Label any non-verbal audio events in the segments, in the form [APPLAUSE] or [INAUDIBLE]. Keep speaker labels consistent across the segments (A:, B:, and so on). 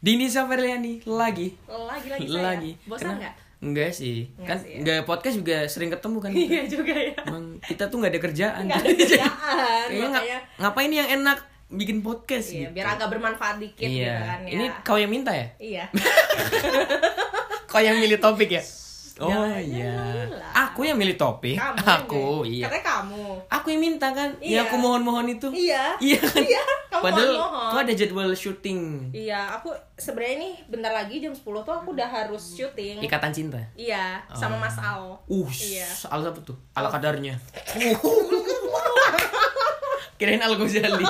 A: Dini Saverliani lagi
B: lagi lagi Oh, saya ya?
A: lagi
B: bosan
A: Kenapa?
B: nggak [LAUGHS]
A: Enggak sih
B: Enggak
A: kan
B: sih ya.
A: enggak podcast juga sering ketemu kan
B: iya juga ya
A: Emang kita tuh nggak ada kerjaan
B: [LAUGHS] nggak ada
A: Jadi,
B: kerjaan
A: kayaknya nggak-
B: makanya
A: ngapain yang enak bikin podcast
B: iya,
A: gitu.
B: biar agak bermanfaat dikit
A: Iya.
B: gitu kan ya
A: ini kau yang minta ya [LAUGHS]
B: iya
A: kau yang milih topik ya oh
B: jangan
A: iya
B: lah.
A: aku yang milih topik
B: kamu
A: aku
B: yang-
A: iya
B: katanya kamu
A: aku yang minta kan
B: Iya.
A: yang aku mohon mohon itu
B: iya
A: Iya kan?
B: iya kamu
A: Padahal
B: mohon
A: kau ada jadwal syuting
B: iya aku sebenarnya nih bentar lagi jam 10 tuh aku udah harus
A: Hmm.
B: syuting
A: Ikatan Cinta.
B: iya sama Mas Al
A: Uh,
B: Iya.
A: al apa tuh? Ala [LAUGHS] kadarnya. Kirain Al Ghazali.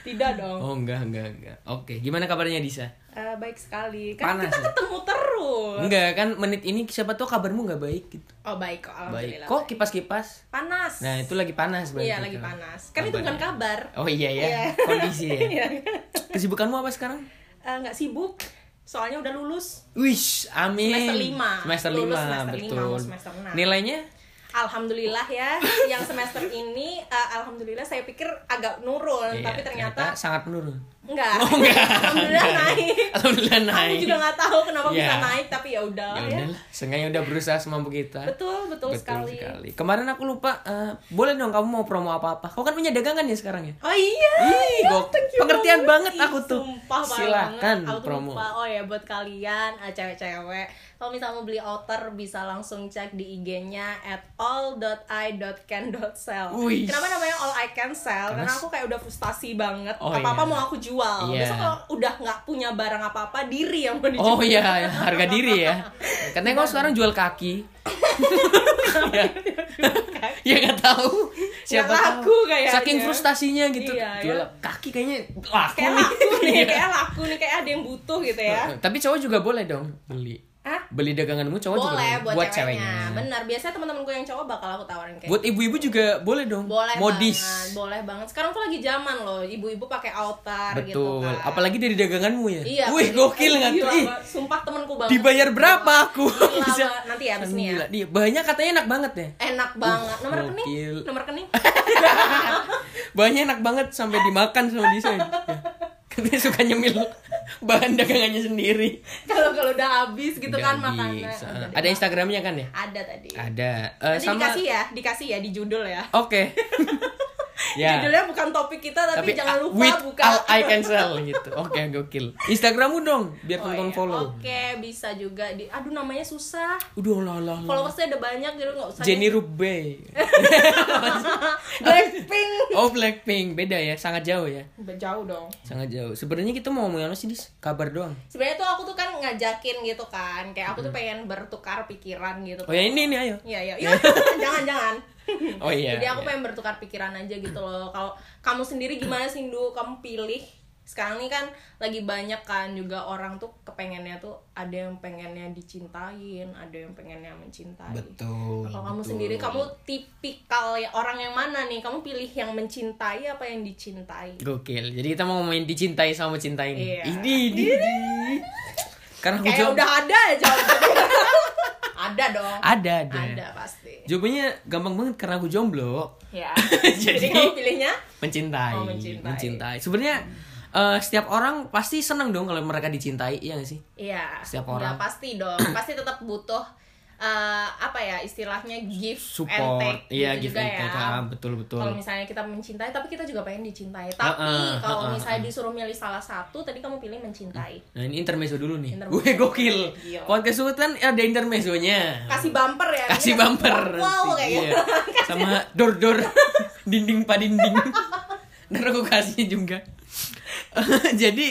B: tidak dong
A: [LAUGHS] Oh, enggak, enggak, enggak. Oke, gimana kabarnya Disa?
B: Eh, baik sekali kan
A: Panas ya?
B: kita ketemu terus
A: Enggak, kan menit ini siapa tahu kabarmu enggak baik gitu.
B: oh baik kok
A: Baik.
B: alhamdulillah
A: Kok kipas-kipas?
B: panas
A: Nah, itu lagi panas berarti.
B: iya lagi
A: kalau-
B: panas kan itu bukan
A: kabarnya.
B: kabar
A: Oh iya ya,
B: Iya.
A: kondisi ya.
B: [LAUGHS] Iya.
A: Kesibukanmu apa sekarang?
B: Eh, nggak sibuk soalnya udah lulus
A: Wish, amin.
B: Semester lima.
A: Semester
B: Lulus
A: 5,
B: semester lima,
A: betul.
B: mau semester enam.
A: Nilainya?
B: alhamdulillah ya [LAUGHS] yang semester ini eh, alhamdulillah saya pikir agak nurun
A: Iya,
B: Eh, tapi ternyata,
A: sangat menurun.
B: enggak
A: Oh enggak.
B: [LAUGHS]
A: [LAUGHS]
B: alhamdulillah naik
A: Alhamdulillah
B: aku
A: naik.
B: juga nggak tahu kenapa
A: Iya.
B: bisa naik tapi ya udah
A: ya
B: ya
A: udahlah seenggaknya udah berusaha semampu kita
B: betul betul, sekali.
A: kemarin aku lupa eh, boleh dong kamu mau promo apa apa kau kan punya dagangan ya sekarang
B: [LAUGHS]
A: ya
B: Oh iya,
A: Ih,
B: iya,
A: gok-
B: thank you
A: pengertian banget
B: Ih,
A: aku tuh.
B: Sumpah, parah
A: Silakan
B: banget. Aku tuh
A: promo.
B: lupa. Oh ya buat kalian ah, cewek-cewek, kalau misalnya mau beli outer bisa langsung cek di IG-nya at all.i.can.sell.
A: Wih.
B: Kenapa namanya all I can sell? Karena,
A: Karena-
B: aku kayak udah frustasi banget.
A: Oh,
B: apa-apa
A: iya.
B: mau aku jual.
A: Iya.
B: Besok kalau udah nggak punya barang apa-apa, diri yang mau dijual.
A: oh iya harga diri ya katanya kau sekarang jual
B: [LAUGHS]
A: kaki ya ya nggak tahu siapa
B: Nggak
A: tahu
B: laku kayaknya.
A: saking frustasinya gitu
B: Iya,
A: jual
B: ya.
A: kaki kayaknya laku
B: [LAUGHS] Kayak
A: nih. [LAUGHS]
B: laku nih,
A: Iya.
B: kayak laku nih, kayak ada yang butuh gitu ya.
A: tapi cowok juga boleh dong beli
B: Hah?
A: beli daganganmu cowok juga
B: Boleh buat,
A: buat
B: ceweknya.
A: ceweknya
B: Benar, biasanya teman-temanku yang cowok bakal aku tawarin kayak
A: buat ibu-ibu juga boleh dong
B: boleh
A: modis
B: banget boleh banget sekarang tuh lagi zaman loh ibu-ibu pakai outer gitu
A: Betul.
B: kan
A: Apalagi dari daganganmu ya.
B: iya
A: Wih,
B: apalagi-
A: gokil
B: eh,
A: nggak tuh?
B: gila,
A: Ih,
B: Mbak. sumpah temanku banget
A: dibayar berapa aku?
B: Gila,
A: Bisa.
B: Mbak. nanti ya abis nih ya
A: Gila, dia banyak katanya enak banget ya.
B: enak banget nomor rekening
A: gokil.
B: nomor rekening [LAUGHS]
A: Banyak enak banget sampai dimakan sama Disa.
B: [LAUGHS]
A: ya. Katanya suka nyemil bahan dagangannya sendiri.
B: kalau kalau udah habis gitu kan
A: Nggak
B: makanan
A: bisa.
B: Udah deh,
A: Ah, Ada
B: Mbak.
A: Instagramnya kan ya?
B: ada tadi
A: Ada. Eh,
B: nanti
A: sama
B: dikasih ya dikasih ya di judul ya [LAUGHS]
A: Oke. ya.
B: judulnya bukan topik kita tapi,
A: ah,
B: jangan lupa
A: with
B: buka
A: all I cancel gitu. Oke, gokil. Instagrammu dong biar
B: Oh,
A: tonton
B: iya. Oh.
A: follow.
B: oke bisa juga di aduh namanya susah
A: Udah lah lah. lah.
B: followersnya ada banyak gitu nggak usah
A: Jenny Rubey.
B: [LAUGHS] Blackpink
A: Oh Blackpink beda ya, sangat jauh ya,
B: jauh dong
A: sangat jauh. Sebenarnya kita mau ngomongin apa sih dis? Kabar doang.
B: sebenarnya tuh aku tuh kan ngajakin gitu kan kayak aku tuh pengen bertukar pikiran gitu
A: Hmm. Oh ya ini ini ayo.
B: Iya,
A: [LAUGHS]
B: iya, iya. [LAUGHS] jangan jangan
A: Oh iya.
B: jadi aku
A: iya.
B: pengen bertukar pikiran aja gitu loh kalau kamu sendiri gimana sih Ndu kamu pilih sekarang nih kan lagi banyak kan juga orang tuh kepengennya tuh ada yang pengennya dicintain ada yang pengennya mencintai
A: Betul.
B: kalau kamu sendiri kamu tipikal ya orang yang mana nih kamu pilih yang mencintai apa yang dicintai
A: Gokil. Jadi kita mau ngomongin dicintai sama cinta ini.
B: Iya.
A: Ini ini. Karena aku
B: kayak
A: jawab
B: udah ada aja
A: [LAUGHS]
B: ada dong
A: ada ada.
B: ada pasti
A: Jawabannya gampang banget karena aku jomblo.
B: ya
A: [LAUGHS] Jadi-
B: jadi, kamu pilihnya
A: Mencintai.
B: Oh, mencintai.
A: Sebenarnya eh, setiap orang pasti seneng dong kalau mereka dicintai, iya gak sih?
B: iya
A: Setiap orang.
B: udah pasti dong pasti tetap butuh eh, apa ya istilahnya give and
A: Support,
B: take
A: iya give
B: gitu juga
A: and take,
B: ya
A: ah, betul betul.
B: kalau misalnya kita mencintai tapi kita juga pengen dicintai tapi
A: Ah, ah,
B: kalau
A: ah, ah,
B: misalnya disuruh milih salah satu tadi kamu pilih mencintai
A: Nah ini intermezzo dulu nih.
B: Intermezzo.
A: Gue gokil.
B: Gila.
A: Podcast Suhut kan ada intermezzonya.
B: kasih bumper ya
A: Kasih
B: ini
A: bumper.
B: wow kayak
A: Iya.
B: gitu [LAUGHS]
A: Sama dor dor dinding pa dinding. Ntar aku kasih juga. [LAUGHS] Jadi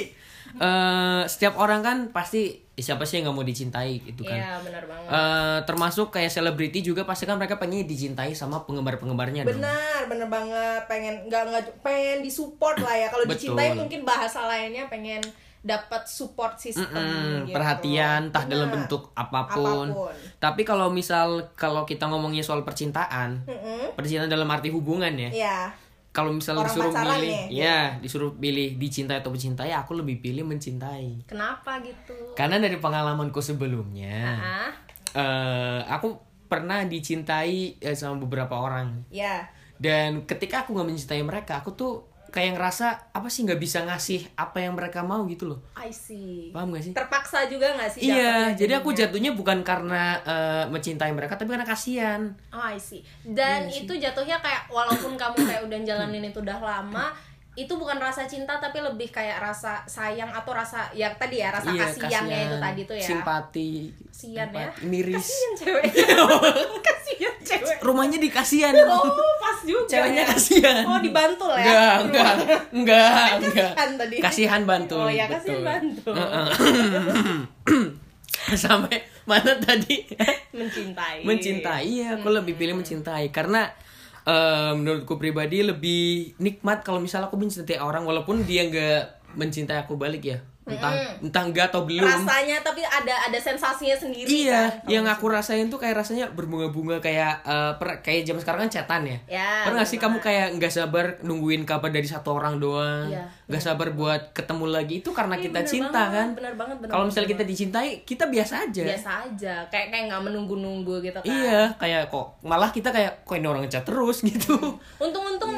A: eh setiap orang kan pasti "Ih, siapa sih yang nggak mau dicintai gitu kan.
B: iya benar banget
A: Eh, termasuk kayak selebriti juga pasti kan mereka pengen dicintai sama penggemar-penggemarnya dong.
B: benar benar banget pengen nggak nggak pengen disupport lah ya kalau
A: Betul.
B: dicintai mungkin bahasa lainnya pengen dapat support system
A: Mm,
B: gitu.
A: perhatian entah dalam
B: Benar.
A: bentuk apapun.
B: Apapun.
A: Tapi kalau misal kalau kita ngomongnya soal percintaan,
B: Mm-mm.
A: percintaan dalam arti hubungan ya.
B: Iya.
A: Kalau misal
B: Orang
A: disuruh
B: pacaran
A: milih,
B: nih.
A: ya disuruh pilih dicintai atau mencintai, ya aku lebih pilih mencintai.
B: Kenapa gitu?
A: Eh. Karena dari pengalamanku sebelumnya,
B: Ah,
A: eh aku pernah dicintai eh, sama beberapa orang
B: ya
A: dan ketika aku nggak mencintai mereka aku tuh kayak ngerasa apa sih nggak bisa ngasih apa yang mereka mau gitu loh
B: I see
A: paham gak sih
B: terpaksa juga nggak sih
A: iya
B: jatuhnya
A: jadi aku
B: ya jadinya?
A: jatuhnya bukan karena eh, mencintai mereka tapi karena kasihan
B: Oh, I see. Dan itu jatuhnya kayak walaupun kamu kayak udah jalanin itu udah lama, itu bukan rasa cinta tapi lebih kayak rasa sayang atau rasa ya tadi ya rasa kasihannya itu
A: Iya, kasihan.
B: tadi tuh ya.
A: simpati
B: Kasihan ya.
A: empati, miris
B: Kasihan
A: [LAUGHS]
B: cewek.
A: Iya.
B: kasihan cewek.
A: rumahnya di
B: [LAUGHS]
A: kasihan
B: Oh, pas juga.
A: Iya. ceweknya
B: ya.
A: kasihan
B: Oh, dibantul ya. Kan Eh,
A: enggak enggak enggak enggak
B: Kasihan tadi.
A: kasihan bantul
B: Oh, ya
A: betul. Hmm.
B: kasihan bantul.
A: [CLEARS THROAT] sampai mana
B: [LAUGHS]
A: tadi
B: Mencintai.
A: mencintai iya aku lebih pilih
B: Hmm.
A: mencintai karena eh, menurutku pribadi lebih nikmat kalau misalnya aku mencintai orang walaupun dia nggak mencintai aku balik ya entah
B: Hmm.
A: entah enggak atau belum
B: Rasanya tapi ada ada sensasinya sendiri.
A: Iya,
B: kan?
A: yang aku rasain tuh kayak rasanya berbunga-bunga kayak eh, per- kayak zaman sekarang kan cetan ya.
B: Ya,
A: Pernah nggak sih kamu
B: bener
A: kayak nggak sabar nungguin kabar dari satu orang doang,
B: Iya,
A: nggak sabar buat ketemu lagi itu karena
B: Ih,
A: kita
B: Iya, bener
A: cinta
B: banget,
A: kan.
B: bener banget, bener
A: Kalau
B: banget,
A: misalnya kita dicintai, kita biasa aja.
B: biasa aja kayak kayak nggak menunggu nunggu gitu kan
A: Iya, kayak kok malah kita kayak kok ini orang ngecat terus [LAUGHS] gitu.
B: untung-untung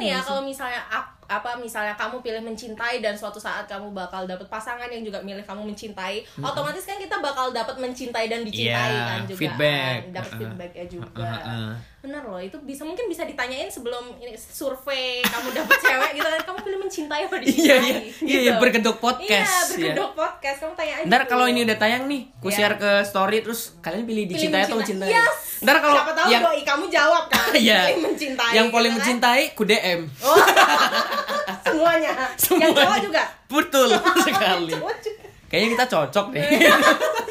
A: Iya
B: nih ya kalau misalnya ak- apa misalnya kamu pilih mencintai dan suatu saat kamu bakal dapet pasangan yang juga milih kamu mencintai otomatis kan kita bakal dapat mencintai dan dicintai
A: Iya,
B: kan juga
A: feedback.
B: kan, dapat
A: Heeh.
B: feedback ya juga
A: Heeh, heeh.
B: bener loh itu bisa mungkin bisa ditanyain sebelum ini survei kamu dapet cewek gitu kan kamu pilih mencintai apa dicintai
A: Iya, iya.
B: gitu.
A: Iya, iya, berkedok podcast,
B: iya berkedok podcast kamu tanya aja
A: Ntar
B: dulu.
A: kalau ini udah tayang nih, ku
B: Iya.
A: share ke story terus kalian pilih
B: Pilih
A: dicintai atau mencintai.
B: Yes.
A: Ntar kalau
B: siapa tahu
A: yang
B: doi kamu jawab kan
A: [LAUGHS] Iya.
B: pilih mencintai
A: yang paling
B: gitu kan.
A: mencintai ku DM.
B: Oh. [LAUGHS] semuanya. Yang cowok juga. [LAUGHS]
A: Betul [LAUGHS] sekali.
B: Cowok Iya. juga.
A: Kayaknya kita cocok deh. [LAUGHS]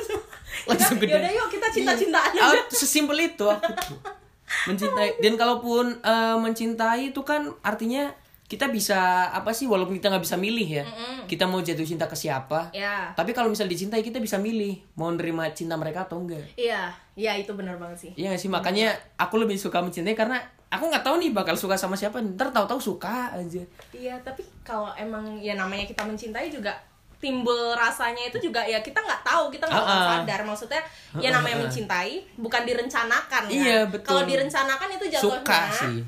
A: Langsung
B: Kita-
A: gede.
B: Yaudah yuk kita cinta-cintaan aja.
A: Ah, sesimpel itu aku tuh. Mencintai dan kalaupun eh, mencintai itu kan artinya kita bisa apa sih walaupun kita nggak bisa milih ya. Kita mau jatuh cinta ke siapa?
B: Ya.
A: Tapi kalau misal dicintai kita bisa milih mau nerima cinta mereka atau enggak.
B: Iya, iya itu benar banget sih.
A: Iya nggak sih makanya aku lebih suka mencintai karena aku nggak tahu nih bakal suka sama siapa ntar tahu-tahu suka aja.
B: Iya, tapi kalau emang ya namanya kita mencintai juga timbul rasanya itu juga ya kita nggak tahu kita nggak bakal
A: Ah-ah.
B: sadar maksudnya ya namanya mencintai bukan direncanakan kan?
A: Iya, betul.
B: kalau direncanakan itu jatuhnya
A: Suka sih.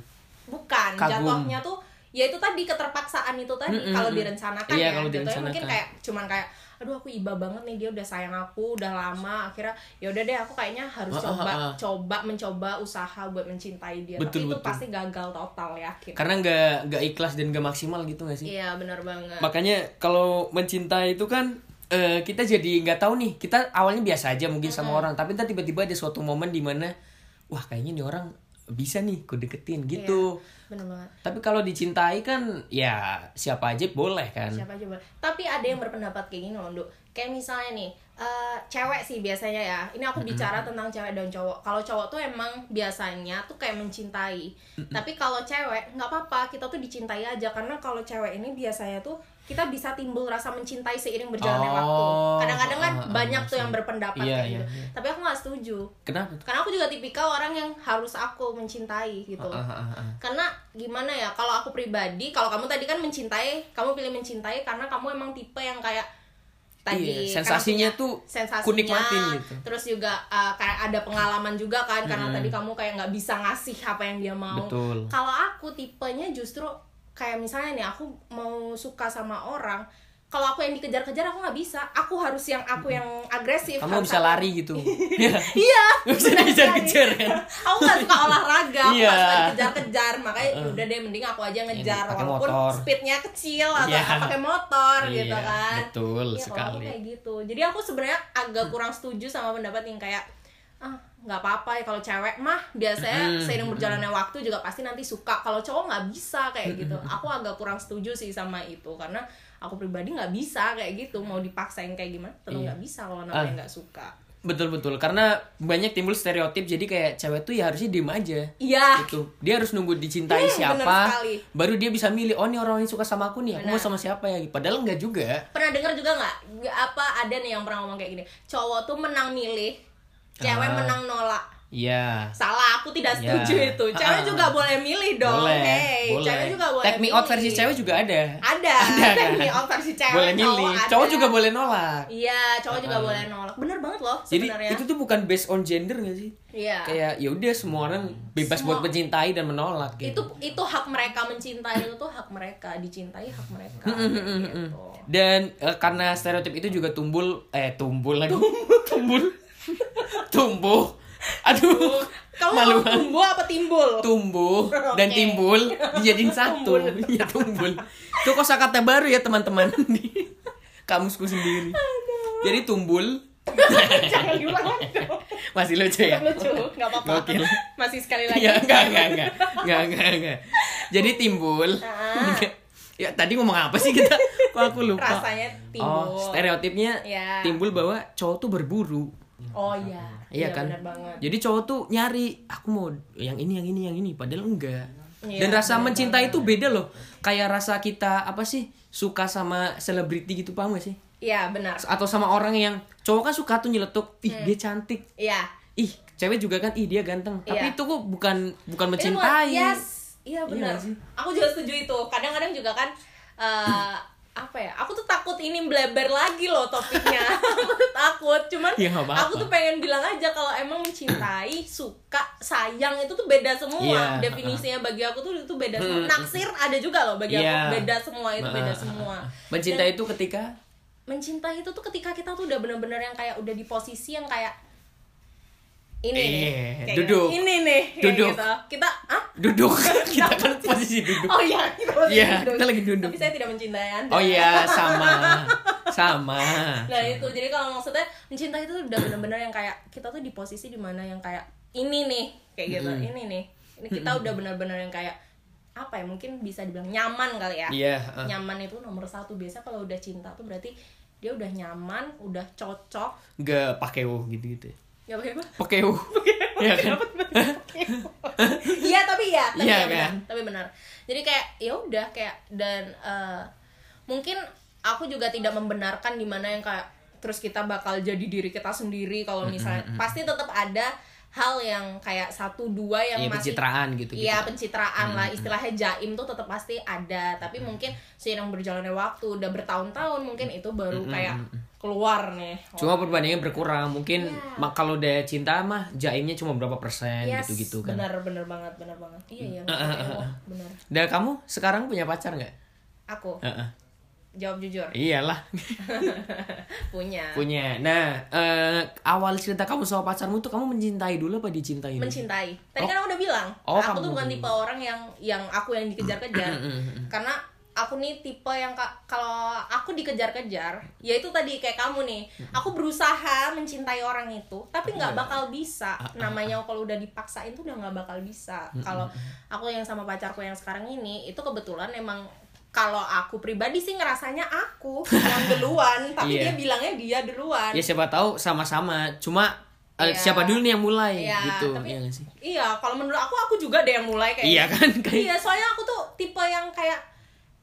B: bukan
A: Kagum.
B: jatuhnya tuh ya itu tadi keterpaksaan itu tadi
A: Mm-mm,
B: kalau
A: mm.
B: direncanakan
A: Iya,
B: ya
A: kalau
B: jatuhnya mungkin
A: direncanakan.
B: kayak cuman kayak aduh aku iba banget nih dia udah sayang aku udah lama akhirnya ya udah deh aku kayaknya harus
A: Ah, ah,
B: coba
A: ah, ah.
B: coba mencoba usaha buat mencintai dia
A: Betul,
B: tapi itu
A: betul. Kan
B: pasti gagal total yakin
A: Karena nggak nggak ikhlas dan nggak maksimal gitu nggak sih?
B: iya benar banget
A: makanya kalau mencintai itu kan eh, kita jadi nggak tahu nih kita awalnya biasa aja mungkin sama orang tapi ntar tiba-tiba ada suatu momen dimana wah kayaknya nih orang bisa nih ku deketin gitu
B: Iya, benar banget
A: tapi kalau dicintai kan ya siapa aja boleh kan
B: siapa coba tapi ada yang berpendapat kayak gini loh Nduk. kayak misalnya nih eh, cewek sih biasanya ya ini aku bicara tentang cewek dan cowok kalau cowok tuh emang biasanya tuh kayak mencintai tapi kalau cewek nggak apa-apa kita tuh dicintai aja karena kalau cewek ini biasanya tuh kita bisa timbul rasa mencintai seiring berjalannya
A: Oh,
B: waktu kadang-kadang kan
A: ah, ah,
B: banyak tuh
A: maksudnya.
B: yang berpendapat
A: Iya,
B: kayak
A: iya,
B: gitu
A: iya.
B: tapi aku nggak setuju
A: kenapa tuh?
B: karena aku juga tipikal orang yang harus aku mencintai gitu
A: Ah, ah, ah, ah.
B: karena gimana ya kalau aku pribadi kalau kamu tadi kan mencintai kamu pilih mencintai karena kamu emang tipe yang kayak tadi
A: Iya, sensasinya
B: karena punya
A: tuh
B: sensasinya
A: kunikmatin gitu. Hmm.
B: terus juga uh, kayak ada pengalaman juga kan karena tadi kamu kayak nggak bisa ngasih apa yang dia mau
A: Betul.
B: kalau aku tipenya justru kayak misalnya nih aku mau suka sama orang kalau aku yang dikejar-kejar aku nggak bisa aku harus yang aku yang agresif
A: Hmm. kamu
B: harus
A: bisa
B: aku-
A: lari
B: [LAUGHS]
A: gitu Iya.
B: iya
A: Nggak [LAUGHS] bisa
B: benar
A: dikejar-kejar,
B: sekali.
A: kan?
B: aku gak
A: [LAUGHS]
B: suka olahraga aku
A: Iya.
B: gak suka dikejar-kejar makanya udah deh mending aku aja ngejar
A: pakai
B: walaupun
A: motor.
B: speednya kecil atau
A: Iya.
B: pakai motor gitu
A: Iya,
B: kan
A: betul
B: Iya, kalau aku
A: sekali. Hmm.
B: kayak gitu jadi aku sebenarnya agak kurang setuju sama pendapat yang kayak ah nggak apa-apa ya kalau cewek mah biasanya
A: Mm-mm.
B: seiring berjalannya waktu juga pasti nanti suka kalau cowok nggak bisa kayak gitu
A: Hmm.
B: aku agak kurang setuju sih sama itu karena aku pribadi nggak bisa kayak gitu mau dipaksain kayak gimana tetap
A: Iya.
B: nggak bisa kalau namanya
A: Ah.
B: nggak suka
A: betul betul karena banyak timbul stereotip jadi kayak cewek tuh ya harusnya diem aja
B: iya
A: gitu dia harus nunggu dicintai
B: Hmm,
A: siapa
B: bener sekali.
A: baru dia bisa milih oh ini orang yang suka sama aku nih aku mau sama siapa ya padahal enggak juga
B: pernah dengar juga nggak apa ada nih yang pernah ngomong kayak gini cowok tuh menang milih cewek
A: Ah.
B: menang nolak
A: iya
B: salah aku tidak
A: Ya.
B: setuju itu cewek
A: Ah.
B: juga boleh milih dong
A: boleh
B: hey
A: boleh
B: cewek juga boleh
A: take me out
B: milih.
A: versi cewek juga ada
B: ada,
A: [LAUGHS] Ada,
B: take
A: kan?
B: me out versi cewek
A: boleh
B: cowok
A: milih
B: ada. ya.
A: cowok juga boleh nolak
B: iya cowok juga
A: Ah.
B: boleh nolak bener banget loh
A: Jadi
B: Iya, sebenarnya.
A: itu tuh bukan based on gender gak sih?
B: Iya. Hmm.
A: Kayak ya udah semua orang bebas
B: Semua-
A: buat mencintai dan menolak gitu.
B: itu itu hak mereka mencintai itu tuh hak mereka dicintai hak mereka kayak gitu.
A: Dan eh, karena stereotip itu juga tumbul eh tumbul lagi. [LAUGHS] Tumbul. Tumbuh. Aduh.
B: Kamu
A: malu
B: mau tumbuh apa timbul?
A: tumbuh dan
B: Oke.
A: timbul dijadiin satu.
B: [LAUGHS] Tumbul.
A: [LAUGHS] Iya, tumbul. Itu kosakata baru ya teman-teman [LAUGHS] di kamusku sendiri. Jadi tumbul
B: [LAUGHS] Jangan diulang lagi dong.
A: masih lucu ya?
B: [LAUGHS] Lucu, nggak apa-apa.
A: Gokil.
B: Masih sekali lagi.
A: Iya, enggak, enggak, enggak. Enggak, enggak, enggak. Jadi timbul.
B: Ah.
A: [LAUGHS] ya, tadi ngomong apa sih kita? Kok aku lupa.
B: Rasanya timbul.
A: Oh, stereotipnya
B: Ya.
A: timbul bahwa cowok tuh berburu.
B: Oh iya.
A: Iya kan?
B: Benar banget.
A: Jadi cowok tuh nyari, aku mau yang ini, yang ini, yang ini, padahal enggak.
B: Iya,
A: Dan rasa mencintai itu beda loh. Kayak rasa kita apa sih? Suka sama selebriti gitu paham gak sih?
B: Iya, benar.
A: Atau sama orang yang cowok kan suka tuh nyeletuk, ih dia cantik.
B: Iya.
A: Ih, cewek juga kan ih dia ganteng. Tapi
B: Iya.
A: itu kok bukan bukan
B: Ini bukan-
A: mencintai.
B: Yes. Iya benar.
A: nggak sih?
B: aku juga setuju itu. Kadang-kadang juga kan eh, apa ya? Aku tuh takut ini bleber lagi loh
A: [LAUGHS]
B: topiknya. aku tuh takut. Cuman
A: Ya, nggak apa-apa.
B: aku tuh pengen bilang aja kalau emang mencintai, suka, sayang itu tuh beda semua.
A: Iya, Hmm,
B: Definisinya bagi aku tuh itu beda semua. Naksir ada juga loh bagi
A: Iya.
B: aku beda semua itu beda
A: Ah, ah,
B: semua. Dan-
A: Mencintai itu ketika
B: mencintai itu tuh ketika kita tuh udah bener-bener yang kayak udah di posisi yang kayak ini nih,
A: Eh,
B: kayak
A: duduk.
B: gitu. ini nih, kayak
A: Duduk.
B: gitu. Kita ah [LAUGHS]
A: duduk. [LAUGHS] kita kan posisi duduk.
B: Oh iya, kita lagi
A: Iya, kita lagi duduk.
B: Tapi saya tidak mencintai Anda.
A: Oh iya, sama. Sama.
B: Nah itu, jadi kalau maksudnya mencintai itu tuh udah bener-bener yang kayak kita tuh di posisi dimana yang kayak ini nih, kayak gitu,
A: Hmm.
B: ini nih. Ini kita udah bener-bener yang kayak apa ya? Mungkin bisa dibilang nyaman kali ya.
A: Iya, heeh.
B: Nyaman itu nomor satu. Biasa kalau udah cinta tuh berarti dia udah nyaman, udah cocok.
A: Enggak pakai wuh gitu-gitu. ya.
B: Ya pakai apa?
A: Pakai wuh. Iya kan?
B: Iya tapi ya, tapi
A: Iya,
B: ya benar,
A: kan?
B: tapi benar. Jadi kayak ya udah kayak dan eh, mungkin aku juga tidak membenarkan dimana yang kayak terus kita bakal jadi diri kita sendiri kalau misalnya pasti tetap ada hal yang kayak satu dua yang
A: Iya,
B: masih
A: pencitraan gitu.
B: Iya pencitraan lah istilahnya jaim tuh tetap pasti ada tapi mungkin seiring berjalannya waktu udah bertahun-tahun mungkin itu baru kayak keluar nih
A: Cuma perbandingannya berkurang. Mungkin mak kalau udah cinta mah jaimnya cuma berapa persen
B: Iya. Yes,
A: gitu-gitu kan.
B: benar benar banget benar banget iya iya
A: [LAUGHS]
B: benar benar
A: Dan kamu sekarang punya pacar nggak?
B: aku
A: Heeh.
B: jawab jujur
A: Iyalah, [LAUGHS]
B: punya
A: punya. Nah, eh, awal cerita kamu sama pacarmu tuh kamu mencintai dulu apa dicintai? dulu?
B: mencintai tadi kan aku udah bilang
A: Oh, kamu
B: aku
A: Mm,
B: tuh bukan
A: udah
B: tipe orang yang yang aku yang dikejar-kejar karena aku nih tipe yang ka- kalau aku dikejar-kejar ya itu tadi kayak kamu nih
A: Mm.
B: aku berusaha mencintai orang itu tapi nggak bakal bisa
A: Ah,
B: namanya kalau udah dipaksain tuh udah nggak bakal bisa
A: Mm,
B: kalau aku yang sama pacarku yang sekarang ini itu kebetulan emang kalau aku pribadi sih ngerasanya aku yang duluan
A: Iya.
B: tapi dia bilangnya dia duluan
A: Ya siapa tahu sama-sama. Cuma eh,
B: Iya.
A: siapa dulu nih yang mulai
B: Iya,
A: gitu,
B: tapi-
A: iya nggak sih?
B: Iya, kalau menurut aku aku juga deh yang mulai kayak
A: Iya kan kayak
B: Iya, soalnya aku tuh tipe yang kayak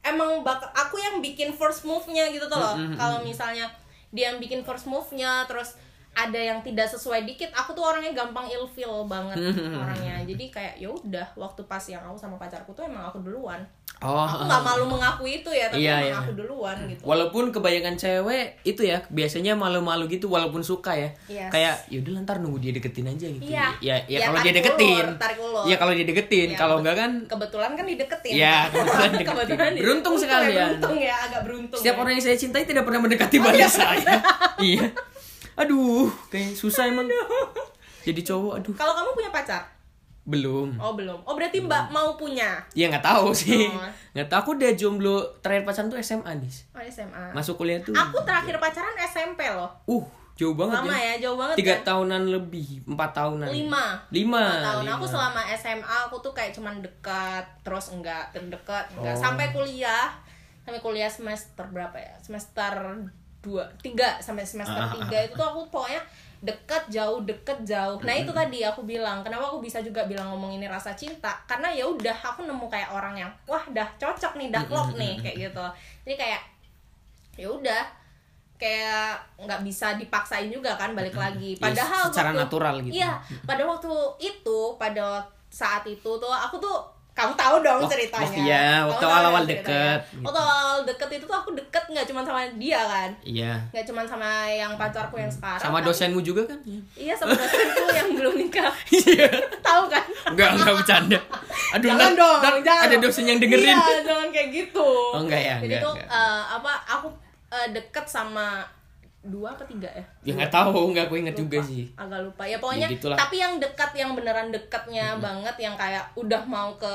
B: emang bak aku yang bikin first move-nya gitu tuh
A: Mm-hmm,
B: loh. Kalau misalnya dia yang bikin first move-nya terus ada yang tidak sesuai dikit, aku tuh orangnya gampang ilfeel banget
A: Mm-hmm.
B: orangnya. Jadi kayak ya udah waktu pas yang aku sama pacarku tuh emang aku duluan.
A: oh.
B: Aku nggak malu mengakui itu ya, tapi
A: Iya,
B: emang
A: iya.
B: aku duluan gitu.
A: Walaupun kebanyakan cewek itu ya biasanya malu-malu gitu walaupun suka ya.
B: Yes.
A: Kayak yaudah ntar nunggu dia deketin aja gitu.
B: Iya.
A: Ya ya,
B: Ya,
A: kalau dia
B: tarik
A: deketin.
B: ulur, tarik ulur.
A: Ya kalau dia deketin, kalau
B: Ya, betul.
A: enggak kan
B: Kebetulan kan dideketin.
A: Iya,
B: [LAUGHS]
A: kebetulan dideketin.
B: dideketin.
A: Beruntung
B: ya,
A: sekalian.
B: Beruntung ya, agak beruntung.
A: setiap
B: ya.
A: orang yang saya cintai tidak pernah mendekati
B: Oh,
A: balik
B: [LAUGHS]
A: saya. iya. Aduh, kayak susah emang. Jadi cowok aduh,
B: Kalau kamu punya pacar?
A: belum.
B: Oh belum. Oh berarti Mbak mau punya?
A: Ya nggak tahu sih.
B: Oh.
A: Nggak tahu aku udah jomblo terakhir pacaran tuh SMA nih.
B: Oh SMA.
A: Masuk kuliah tuh.
B: Aku terakhir pacaran SMP loh.
A: Uh, jauh banget
B: Lama ya, jauh banget
A: Tiga
B: kan?
A: tahunan lebih, empat tahunan. ya?
B: Lima.
A: Lima.
B: Lima tahun.
A: lima.
B: Aku selama SMA aku tuh kayak cuman dekat, terus enggak, terdekat, enggak.
A: Oh.
B: Sampai kuliah, sampai kuliah semester berapa ya? Semester dua, tiga sampai
A: Ah.
B: semester tiga itu tuh aku pokoknya dekat jauh deket jauh nah itu tadi aku bilang kenapa aku bisa juga bilang ngomong ini rasa cinta karena ya udah aku nemu kayak orang yang wah dah cocok nih dah klop nih kayak gitu jadi kayak ya udah kayak nggak bisa dipaksain juga kan balik
A: Iya,
B: lagi padahal
A: secara
B: Iya, waktu-
A: natural gitu.
B: iya pada waktu itu pada saat itu tuh aku tuh kamu tahu dong
A: Wak-
B: ceritanya
A: waktu- iya,
B: Kamu
A: waktu
B: tahu dong
A: awal-awal
B: ceritanya.
A: deket, gitu.
B: waktu awal deket itu tuh aku deket nggak cuma sama dia kan
A: Iya.
B: nggak cuma sama yang pacarku yang sekarang
A: Sama
B: tapi-
A: dosenmu juga kan?
B: iya sama dosenku [LAUGHS] yang belum nikah
A: [LAUGHS] Iya.
B: tahu kan
A: enggak, enggak bercanda. Aduh,
B: jangan
A: ntar-
B: dong
A: ntar
B: jangan
A: ada
B: dong.
A: dosen yang dengerin.
B: iya jangan kayak gitu
A: Oh, enggak ya,
B: jadi
A: enggak,
B: tuh
A: enggak.
B: eh, apa aku eh, deket sama dua apa tiga
A: Ya
B: ya
A: nggak tahu, nggak aku inget juga
B: Lupa,
A: sih.
B: agak lupa ya
A: Ya,
B: pokoknya
A: gitulah.
B: tapi yang dekat yang beneran dekatnya banget yang kayak udah mau ke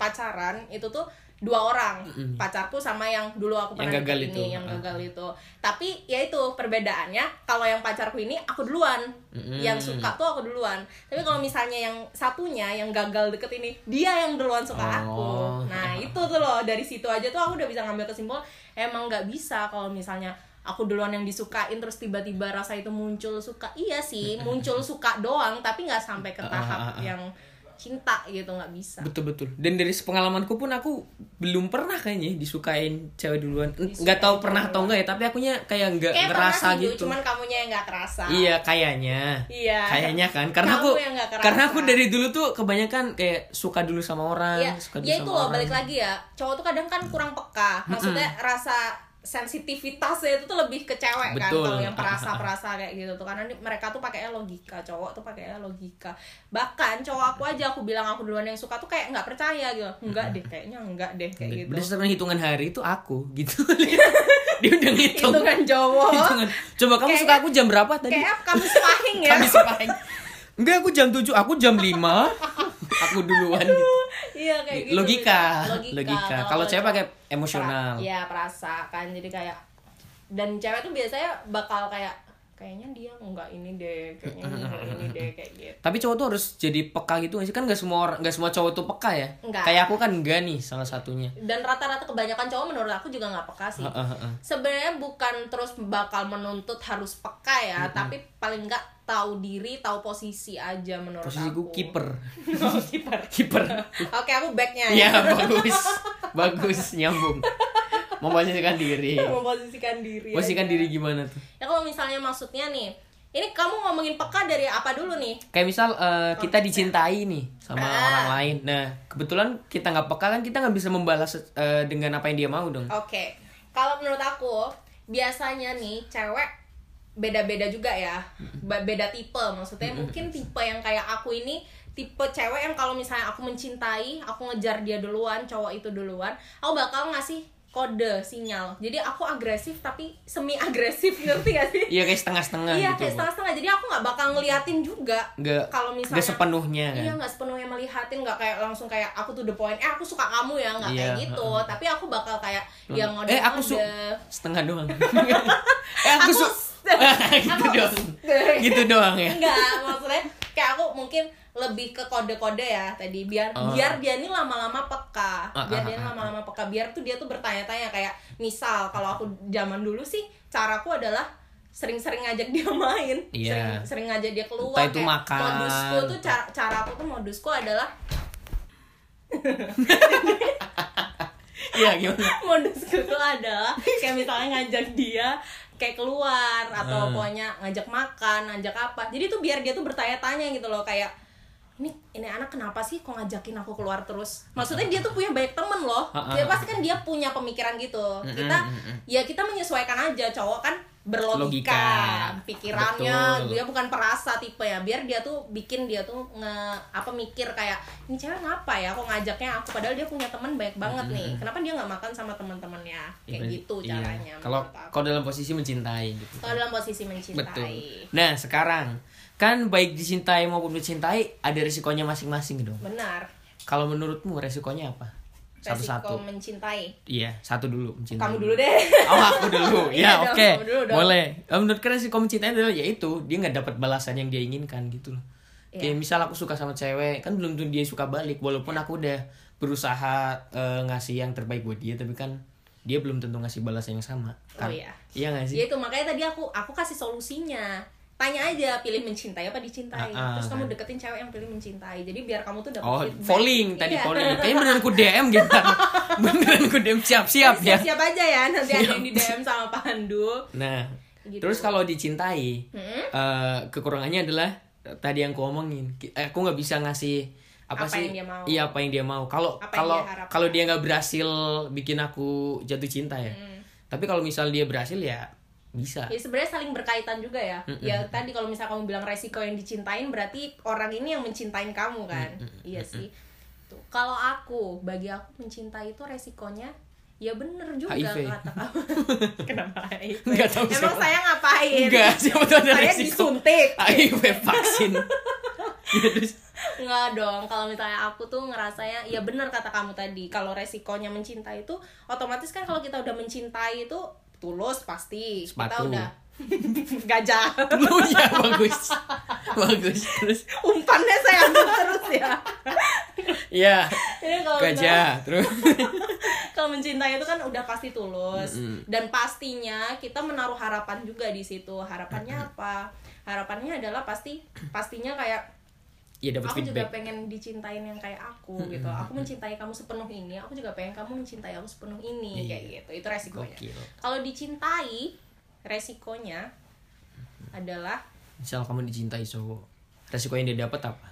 B: pacaran itu tuh dua orang pacarku sama yang dulu aku
A: Yang
B: pernah
A: gagal
B: deket ini,
A: itu.
B: yang
A: Ah.
B: gagal itu tapi ya itu perbedaannya kalau yang pacarku ini aku duluan
A: Mm-mm.
B: yang suka tuh aku duluan tapi kalau misalnya yang satunya yang gagal deket ini dia yang duluan suka aku
A: Oh.
B: nah itu tuh loh dari situ aja tuh aku udah bisa ngambil kesimpulan emang nggak bisa kalau misalnya aku duluan yang disukain terus tiba-tiba rasa itu muncul suka iya
A: [LAUGHS]
B: sih muncul suka doang tapi nggak sampai ke
A: Ah,
B: tahap yang cinta gitu nggak bisa
A: Betul betul. Dan dari pengalamanku pun aku belum pernah kayaknya disukain cewek duluan. Nggak tahu pernah atau enggak ya, tapi akunya kayak nggak
B: kayak pernah
A: ngerasa
B: sih, Ju,
A: gitu.
B: cuman kamunya yang nggak kerasa
A: Iya kayaknya.
B: Iya.
A: Kayaknya kan karena
B: Kamu
A: aku
B: yang nggak kerasa.
A: karena aku dari dulu tuh kebanyakan kayak suka dulu sama orang,
B: Iya,
A: suka dulu
B: ya
A: sama
B: itu loh
A: orang.
B: balik lagi ya. Cowok tuh kadang kan kurang peka. Maksudnya rasa sensitivitasnya itu tuh lebih ke cewek kan
A: Betul.
B: kalau yang
A: [LAUGHS]
B: perasa-perasa kayak gitu tuh karena di- mereka tuh pakainya logika cowok tuh pakainya logika bahkan cowok aku aja aku bilang aku duluan yang suka tuh kayak nggak percaya gitu enggak deh kayaknya enggak deh kayak
A: Udah
B: [LAUGHS] gitu
A: setelah hitungan hari itu aku
B: [LAUGHS]
A: gitu. Dia udah ngitung.
B: hitungan cowok
A: [LAUGHS] Hitungan. Coba kamu
B: Kayaknya-
A: suka aku jam berapa tadi?
B: Gitu kan, kayak kamu spahing ya
A: Kami sepahing. Enggak, aku jam 7, aku jam 5. aku duluan gitu.
B: [LAUGHS] iya kayak gitu
A: Logika,
B: logika, Oh,
A: logika. Kalau cewek pakai emosional.
B: Iya, perasa kan. Jadi kayak dan cewek tuh biasanya bakal kayak kayaknya dia nggak ini deh, kayaknya dia nggak ini
A: [LAUGHS]
B: deh kayak gitu.
A: Tapi cowok tuh harus jadi peka gitu nggak sih? Kan nggak semua orang, nggak semua cowok tuh peka ya.
B: Nggak.
A: Kayak aku kan enggak nih salah satunya.
B: Dan rata-rata kebanyakan cowok menurut aku juga nggak peka sih.
A: Heeh, heeh.
B: Sebenarnya bukan terus bakal menuntut harus peka ya, tapi paling nggak tahu diri, tahu posisi aja menurut
A: Posisi
B: aku.
A: gue kiper.
B: [LAUGHS] Oh, kiper.
A: [LAUGHS] Kiper.
B: Oke, aku backnya ya.
A: Ya bagus. bagus nyambung. Memposisikan diri.
B: Iya, Memposisikan diri.
A: Posisikan
B: aja.
A: diri gimana tuh?
B: Ya kalau misalnya maksudnya nih, ini kamu ngomongin peka dari apa dulu nih?
A: Kayak misal eh, kita dicintai nih sama
B: Ah.
A: orang lain. Nah, kebetulan kita nggak peka kan kita nggak bisa membalas eh, dengan apa yang dia mau dong.
B: Oke, kalau menurut aku biasanya nih cewek beda-beda juga ya, Ba- beda tipe. Maksudnya mungkin tipe yang kayak aku ini tipe cewek yang kalau misalnya aku mencintai, aku ngejar dia duluan, cowok itu duluan, aku bakal ngasih kode sinyal. Jadi aku agresif tapi semi agresif [LAUGHS] ngerti gak sih?
A: Iya kayak setengah-setengah
B: Iya,
A: gitu.
B: kayak setengah-setengah. Jadi aku nggak bakal ngeliatin juga.
A: Nggak-
B: Kalau
A: nggak
B: misalnya
A: sepenuhnya kan.
B: Iya, nggak sepenuhnya melihatin, nggak kayak langsung kayak aku tuh the point. Eh, aku suka kamu ya, nggak kayak
A: Iya,
B: gitu. Tapi aku bakal kayak yang ngode
A: eh aku su setengah
B: [LAUGHS]
A: doang. eh aku, su [LAUGHS] gitu doang. [LAUGHS] gitu doang ya.
B: Enggak, maksudnya kayak aku mungkin lebih ke kode-kode ya tadi biar
A: Oh.
B: biar dia ini lama-lama peka.
A: Ah, ah,
B: Biar dia ini
A: ah,
B: lama-lama peka. Biar tuh dia tuh bertanya-tanya kayak misal kalau aku zaman dulu sih caraku adalah sering-sering ngajak dia main,
A: Iya.
B: sering, sering ngajak dia keluar.
A: Entah itu
B: kayak
A: makan.
B: Modusku tuh cara, cara aku tuh modusku adalah
A: Iya gimana?
B: [LAUGHS] modusku tuh adalah kayak misalnya ngajak dia kayak keluar atau
A: Hmm.
B: pokoknya ngajak makan, ngajak apa. Jadi tuh biar dia tuh bertanya-tanya gitu loh kayak ini ini anak kenapa sih kok ngajakin aku keluar terus? Maksudnya dia tuh punya banyak temen loh.
A: Ha, ha,
B: Dia
A: ha.
B: pasti kan dia punya pemikiran
A: ah,
B: gitu.
A: Mm-mm,
B: Kita
A: mm-mm.
B: ya kita menyesuaikan aja cowok kan berlogika,
A: Logika.
B: pikirannya
A: Betul.
B: dia bukan perasa tipe ya. Biar dia tuh bikin dia tuh nge apa mikir kayak ini cewek ngapa ya kok ngajaknya aku padahal dia punya temen banyak banget nih. Kenapa dia nggak makan sama temen-temennya? kayak gitu
A: Hmm. Iya.
B: caranya
A: Kalau
B: menurut aku.
A: kalau dalam posisi mencintai gitu.
B: kalau dalam posisi mencintai
A: Betul. Nah, sekarang kan baik dicintai maupun mencintai ada resikonya masing-masing dong.
B: benar
A: Kalau menurutmu resikonya apa?
B: resiko
A: Satu-satu.
B: mencintai
A: Iya, satu dulu mencintai.
B: kamu dulu deh
A: [LAUGHS] Oh aku
B: [LAUGHS]
A: dulu,
B: Iya
A: ya
B: dong,
A: oke,
B: kamu dulu dong.
A: boleh. Eh, Menurut kalian sih kalau mencintai adalah ya itu dia nggak dapat balasan yang dia inginkan gitu loh.
B: Iya.
A: Kayak misal aku suka sama cewek, kan belum tentu dia suka balik. Walaupun
B: Iya.
A: aku udah berusaha eh, ngasih yang terbaik buat dia, tapi kan dia belum tentu ngasih balasan yang sama.
B: Oh,
A: Kan?
B: iya.
A: Iya nggak sih?
B: ya itu makanya tadi aku aku kasih solusinya tanya aja pilih mencintai apa dicintai
A: Ah, ah,
B: terus
A: kan.
B: kamu deketin cewek yang pilih mencintai jadi biar kamu tuh dapat
A: Oh,
B: feedback.
A: falling tadi
B: Iya.
A: falling. Kayaknya beneran ku DM gitu.
B: [LAUGHS]
A: beneran ku DM siap-siap ya.
B: Iya, siap-siap aja ya nanti ada yang di DM sama Pandu
A: Nah,
B: Gitu.
A: terus kalau dicintai,
B: Mm-mm.
A: eh, kekurangannya adalah eh, tadi yang aku omongin, ki- aku nggak bisa ngasih apa,
B: Apa
A: sih
B: yang dia mau.
A: iya apa yang dia mau kalau
B: Apa yang
A: kalau
B: dia harapkan.
A: kalau dia nggak berhasil bikin aku jatuh cinta ya
B: Hmm.
A: tapi kalau misal dia berhasil ya bisa
B: Ya sebenarnya saling berkaitan juga ya.
A: Hmm,
B: Ya tadi kalau misal kamu bilang resiko yang dicintain berarti orang ini yang mencintain kamu
A: Hmm,
B: kan. Iya sih. Tuh. Kalau aku, bagi aku mencintai itu resikonya ya bener juga
A: HIV.
B: kata kamu.
A: [LAUGHS]
B: Kenapa HIV?
A: Nggak tahu
B: Emang
A: siapa.
B: saya ngapain?
A: [LAUGHS] enggak siapa tahu ada
B: Saya
A: resiko
B: Iya, disuntik.
A: HIV
B: [LAUGHS]
A: vaksin Ya, terus
B: Enggak dong, kalau misalnya aku tuh ngerasanya ya bener kata kamu tadi. Kalau resikonya mencintai itu otomatis kan kalau kita udah mencintai itu tulus pasti. Kita
A: Sepatu.
B: udah [LAUGHS] gajah.
A: lu ya bagus bagus terus
B: umpannya saya ambil terus ya
A: ya
B: [LAUGHS] Jadi kalau misalnya-
A: gajah terus
B: kalau mencintai itu kan udah pasti tulus dan pastinya kita menaruh harapan juga di situ harapannya apa harapannya adalah pasti pastinya kayak
A: ya dapat
B: aku juga
A: feedback
B: pengen dicintain yang kayak aku gitu aku mencintai kamu sepenuh ini aku juga pengen kamu mencintai aku sepenuh
A: Iya.
B: ini kayak gitu itu resikonya
A: Gokil.
B: kalau dicintai resikonya adalah
A: misal kamu dicintai cowok resiko yang dia dapat apa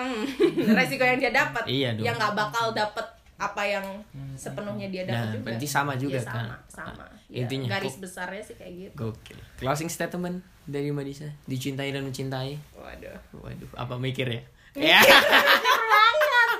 B: Hmm, [LAUGHS] resiko yang dia dapat
A: Iya dong.
B: yang nggak bakal dapat apa yang sepenuhnya dia dapat
A: Nah,
B: juga
A: berarti sama juga
B: Iya, sama,
A: kan?
B: sama
A: Ah,
B: Iya,
A: intinya,
B: garis
A: kok-
B: besarnya sih kayak gitu
A: Gokil. Closing statement dari Mbak Disa. Dicintai dan mencintai.
B: waduh [LAUGHS]
A: Waduh, apa mikir ya? Ya. [LAUGHS]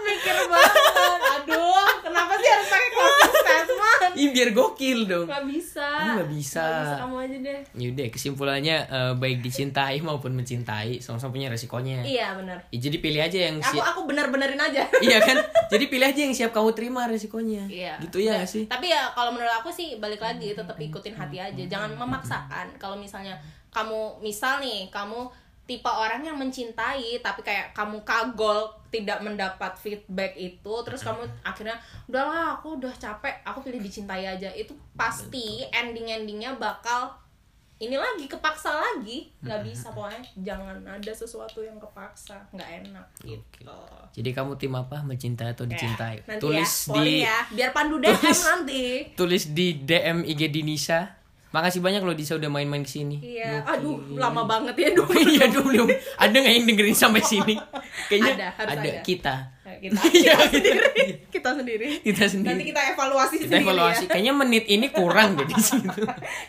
B: mikir banget aduh kenapa sih harus pakai closing statement
A: Ih, biar gokil dong.
B: nggak bisa
A: Oh, Iya. nggak bisa.
B: Nggak kamu aja deh
A: Yaudah, kesimpulannya eh, baik dicintai maupun mencintai sama-sama punya resikonya.
B: iya benar
A: Ya, jadi pilih aja yang
B: aku
A: siap.
B: aku bener-benerin aja
A: [LAUGHS] iya kan? Jadi pilih aja yang siap kamu terima resikonya.
B: Iya.
A: Gitu ya nggak sih?
B: Tapi ya kalau menurut aku sih balik lagi tetap ikutin hati aja,
A: Hmm.
B: jangan memaksakan. Kalau misalnya kamu misal nih kamu tipe orang yang mencintai tapi kayak kamu kagol tidak mendapat feedback itu terus kamu
A: Hmm.
B: akhirnya udahlah aku udah capek aku pilih dicintai aja itu pasti ending endingnya bakal ini lagi kepaksa lagi
A: Hmm.
B: nggak bisa pokoknya jangan ada sesuatu yang kepaksa nggak enak gitu
A: Jadi kamu tim apa? Mencintai atau dicintai?
B: Iya. Nanti
A: Tulis
B: ya,
A: di
B: polling ya. biar pandu DM
A: Tulis.
B: nanti
A: tulis di DM IG Dinisa. Makasih banyak loh Disa udah main-main ke sini.
B: Iya, aduh lama banget ya dulu.
A: [LAUGHS] Iya dong dong. Ada nggak yang dengerin sampai sini? Kayaknya
B: Ada, harus ada.
A: kita.
B: Kita,
A: [LAUGHS] Iya,
B: kita
A: kita-
B: sendiri, kita sendiri.
A: Kita sendiri.
B: Nanti kita evaluasi
A: kita
B: sendiri
A: evaluasi.
B: ya.
A: Kayaknya menit ini kurang deh di
B: [LAUGHS]
A: situ.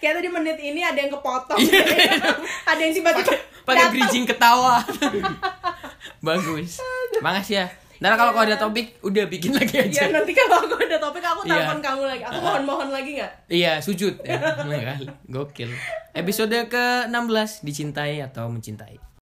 B: Kayak tadi menit ini ada yang kepotong, [LAUGHS] ada yang tiba-tiba
A: Iya, Pakai
B: datang.
A: bridging ketawa. Bagus. Makasih ya. Ntar kalau
B: Iya.
A: kau ada topik udah bikin lagi
B: Ya
A: aja.
B: nanti kalau aku ada topik aku
A: Iya.
B: telepon kamu lagi. Aku mohon-mohon lagi nggak?
A: Iya, sujud ya. Enggak, Gokil. Episode ke-16 dicintai atau mencintai.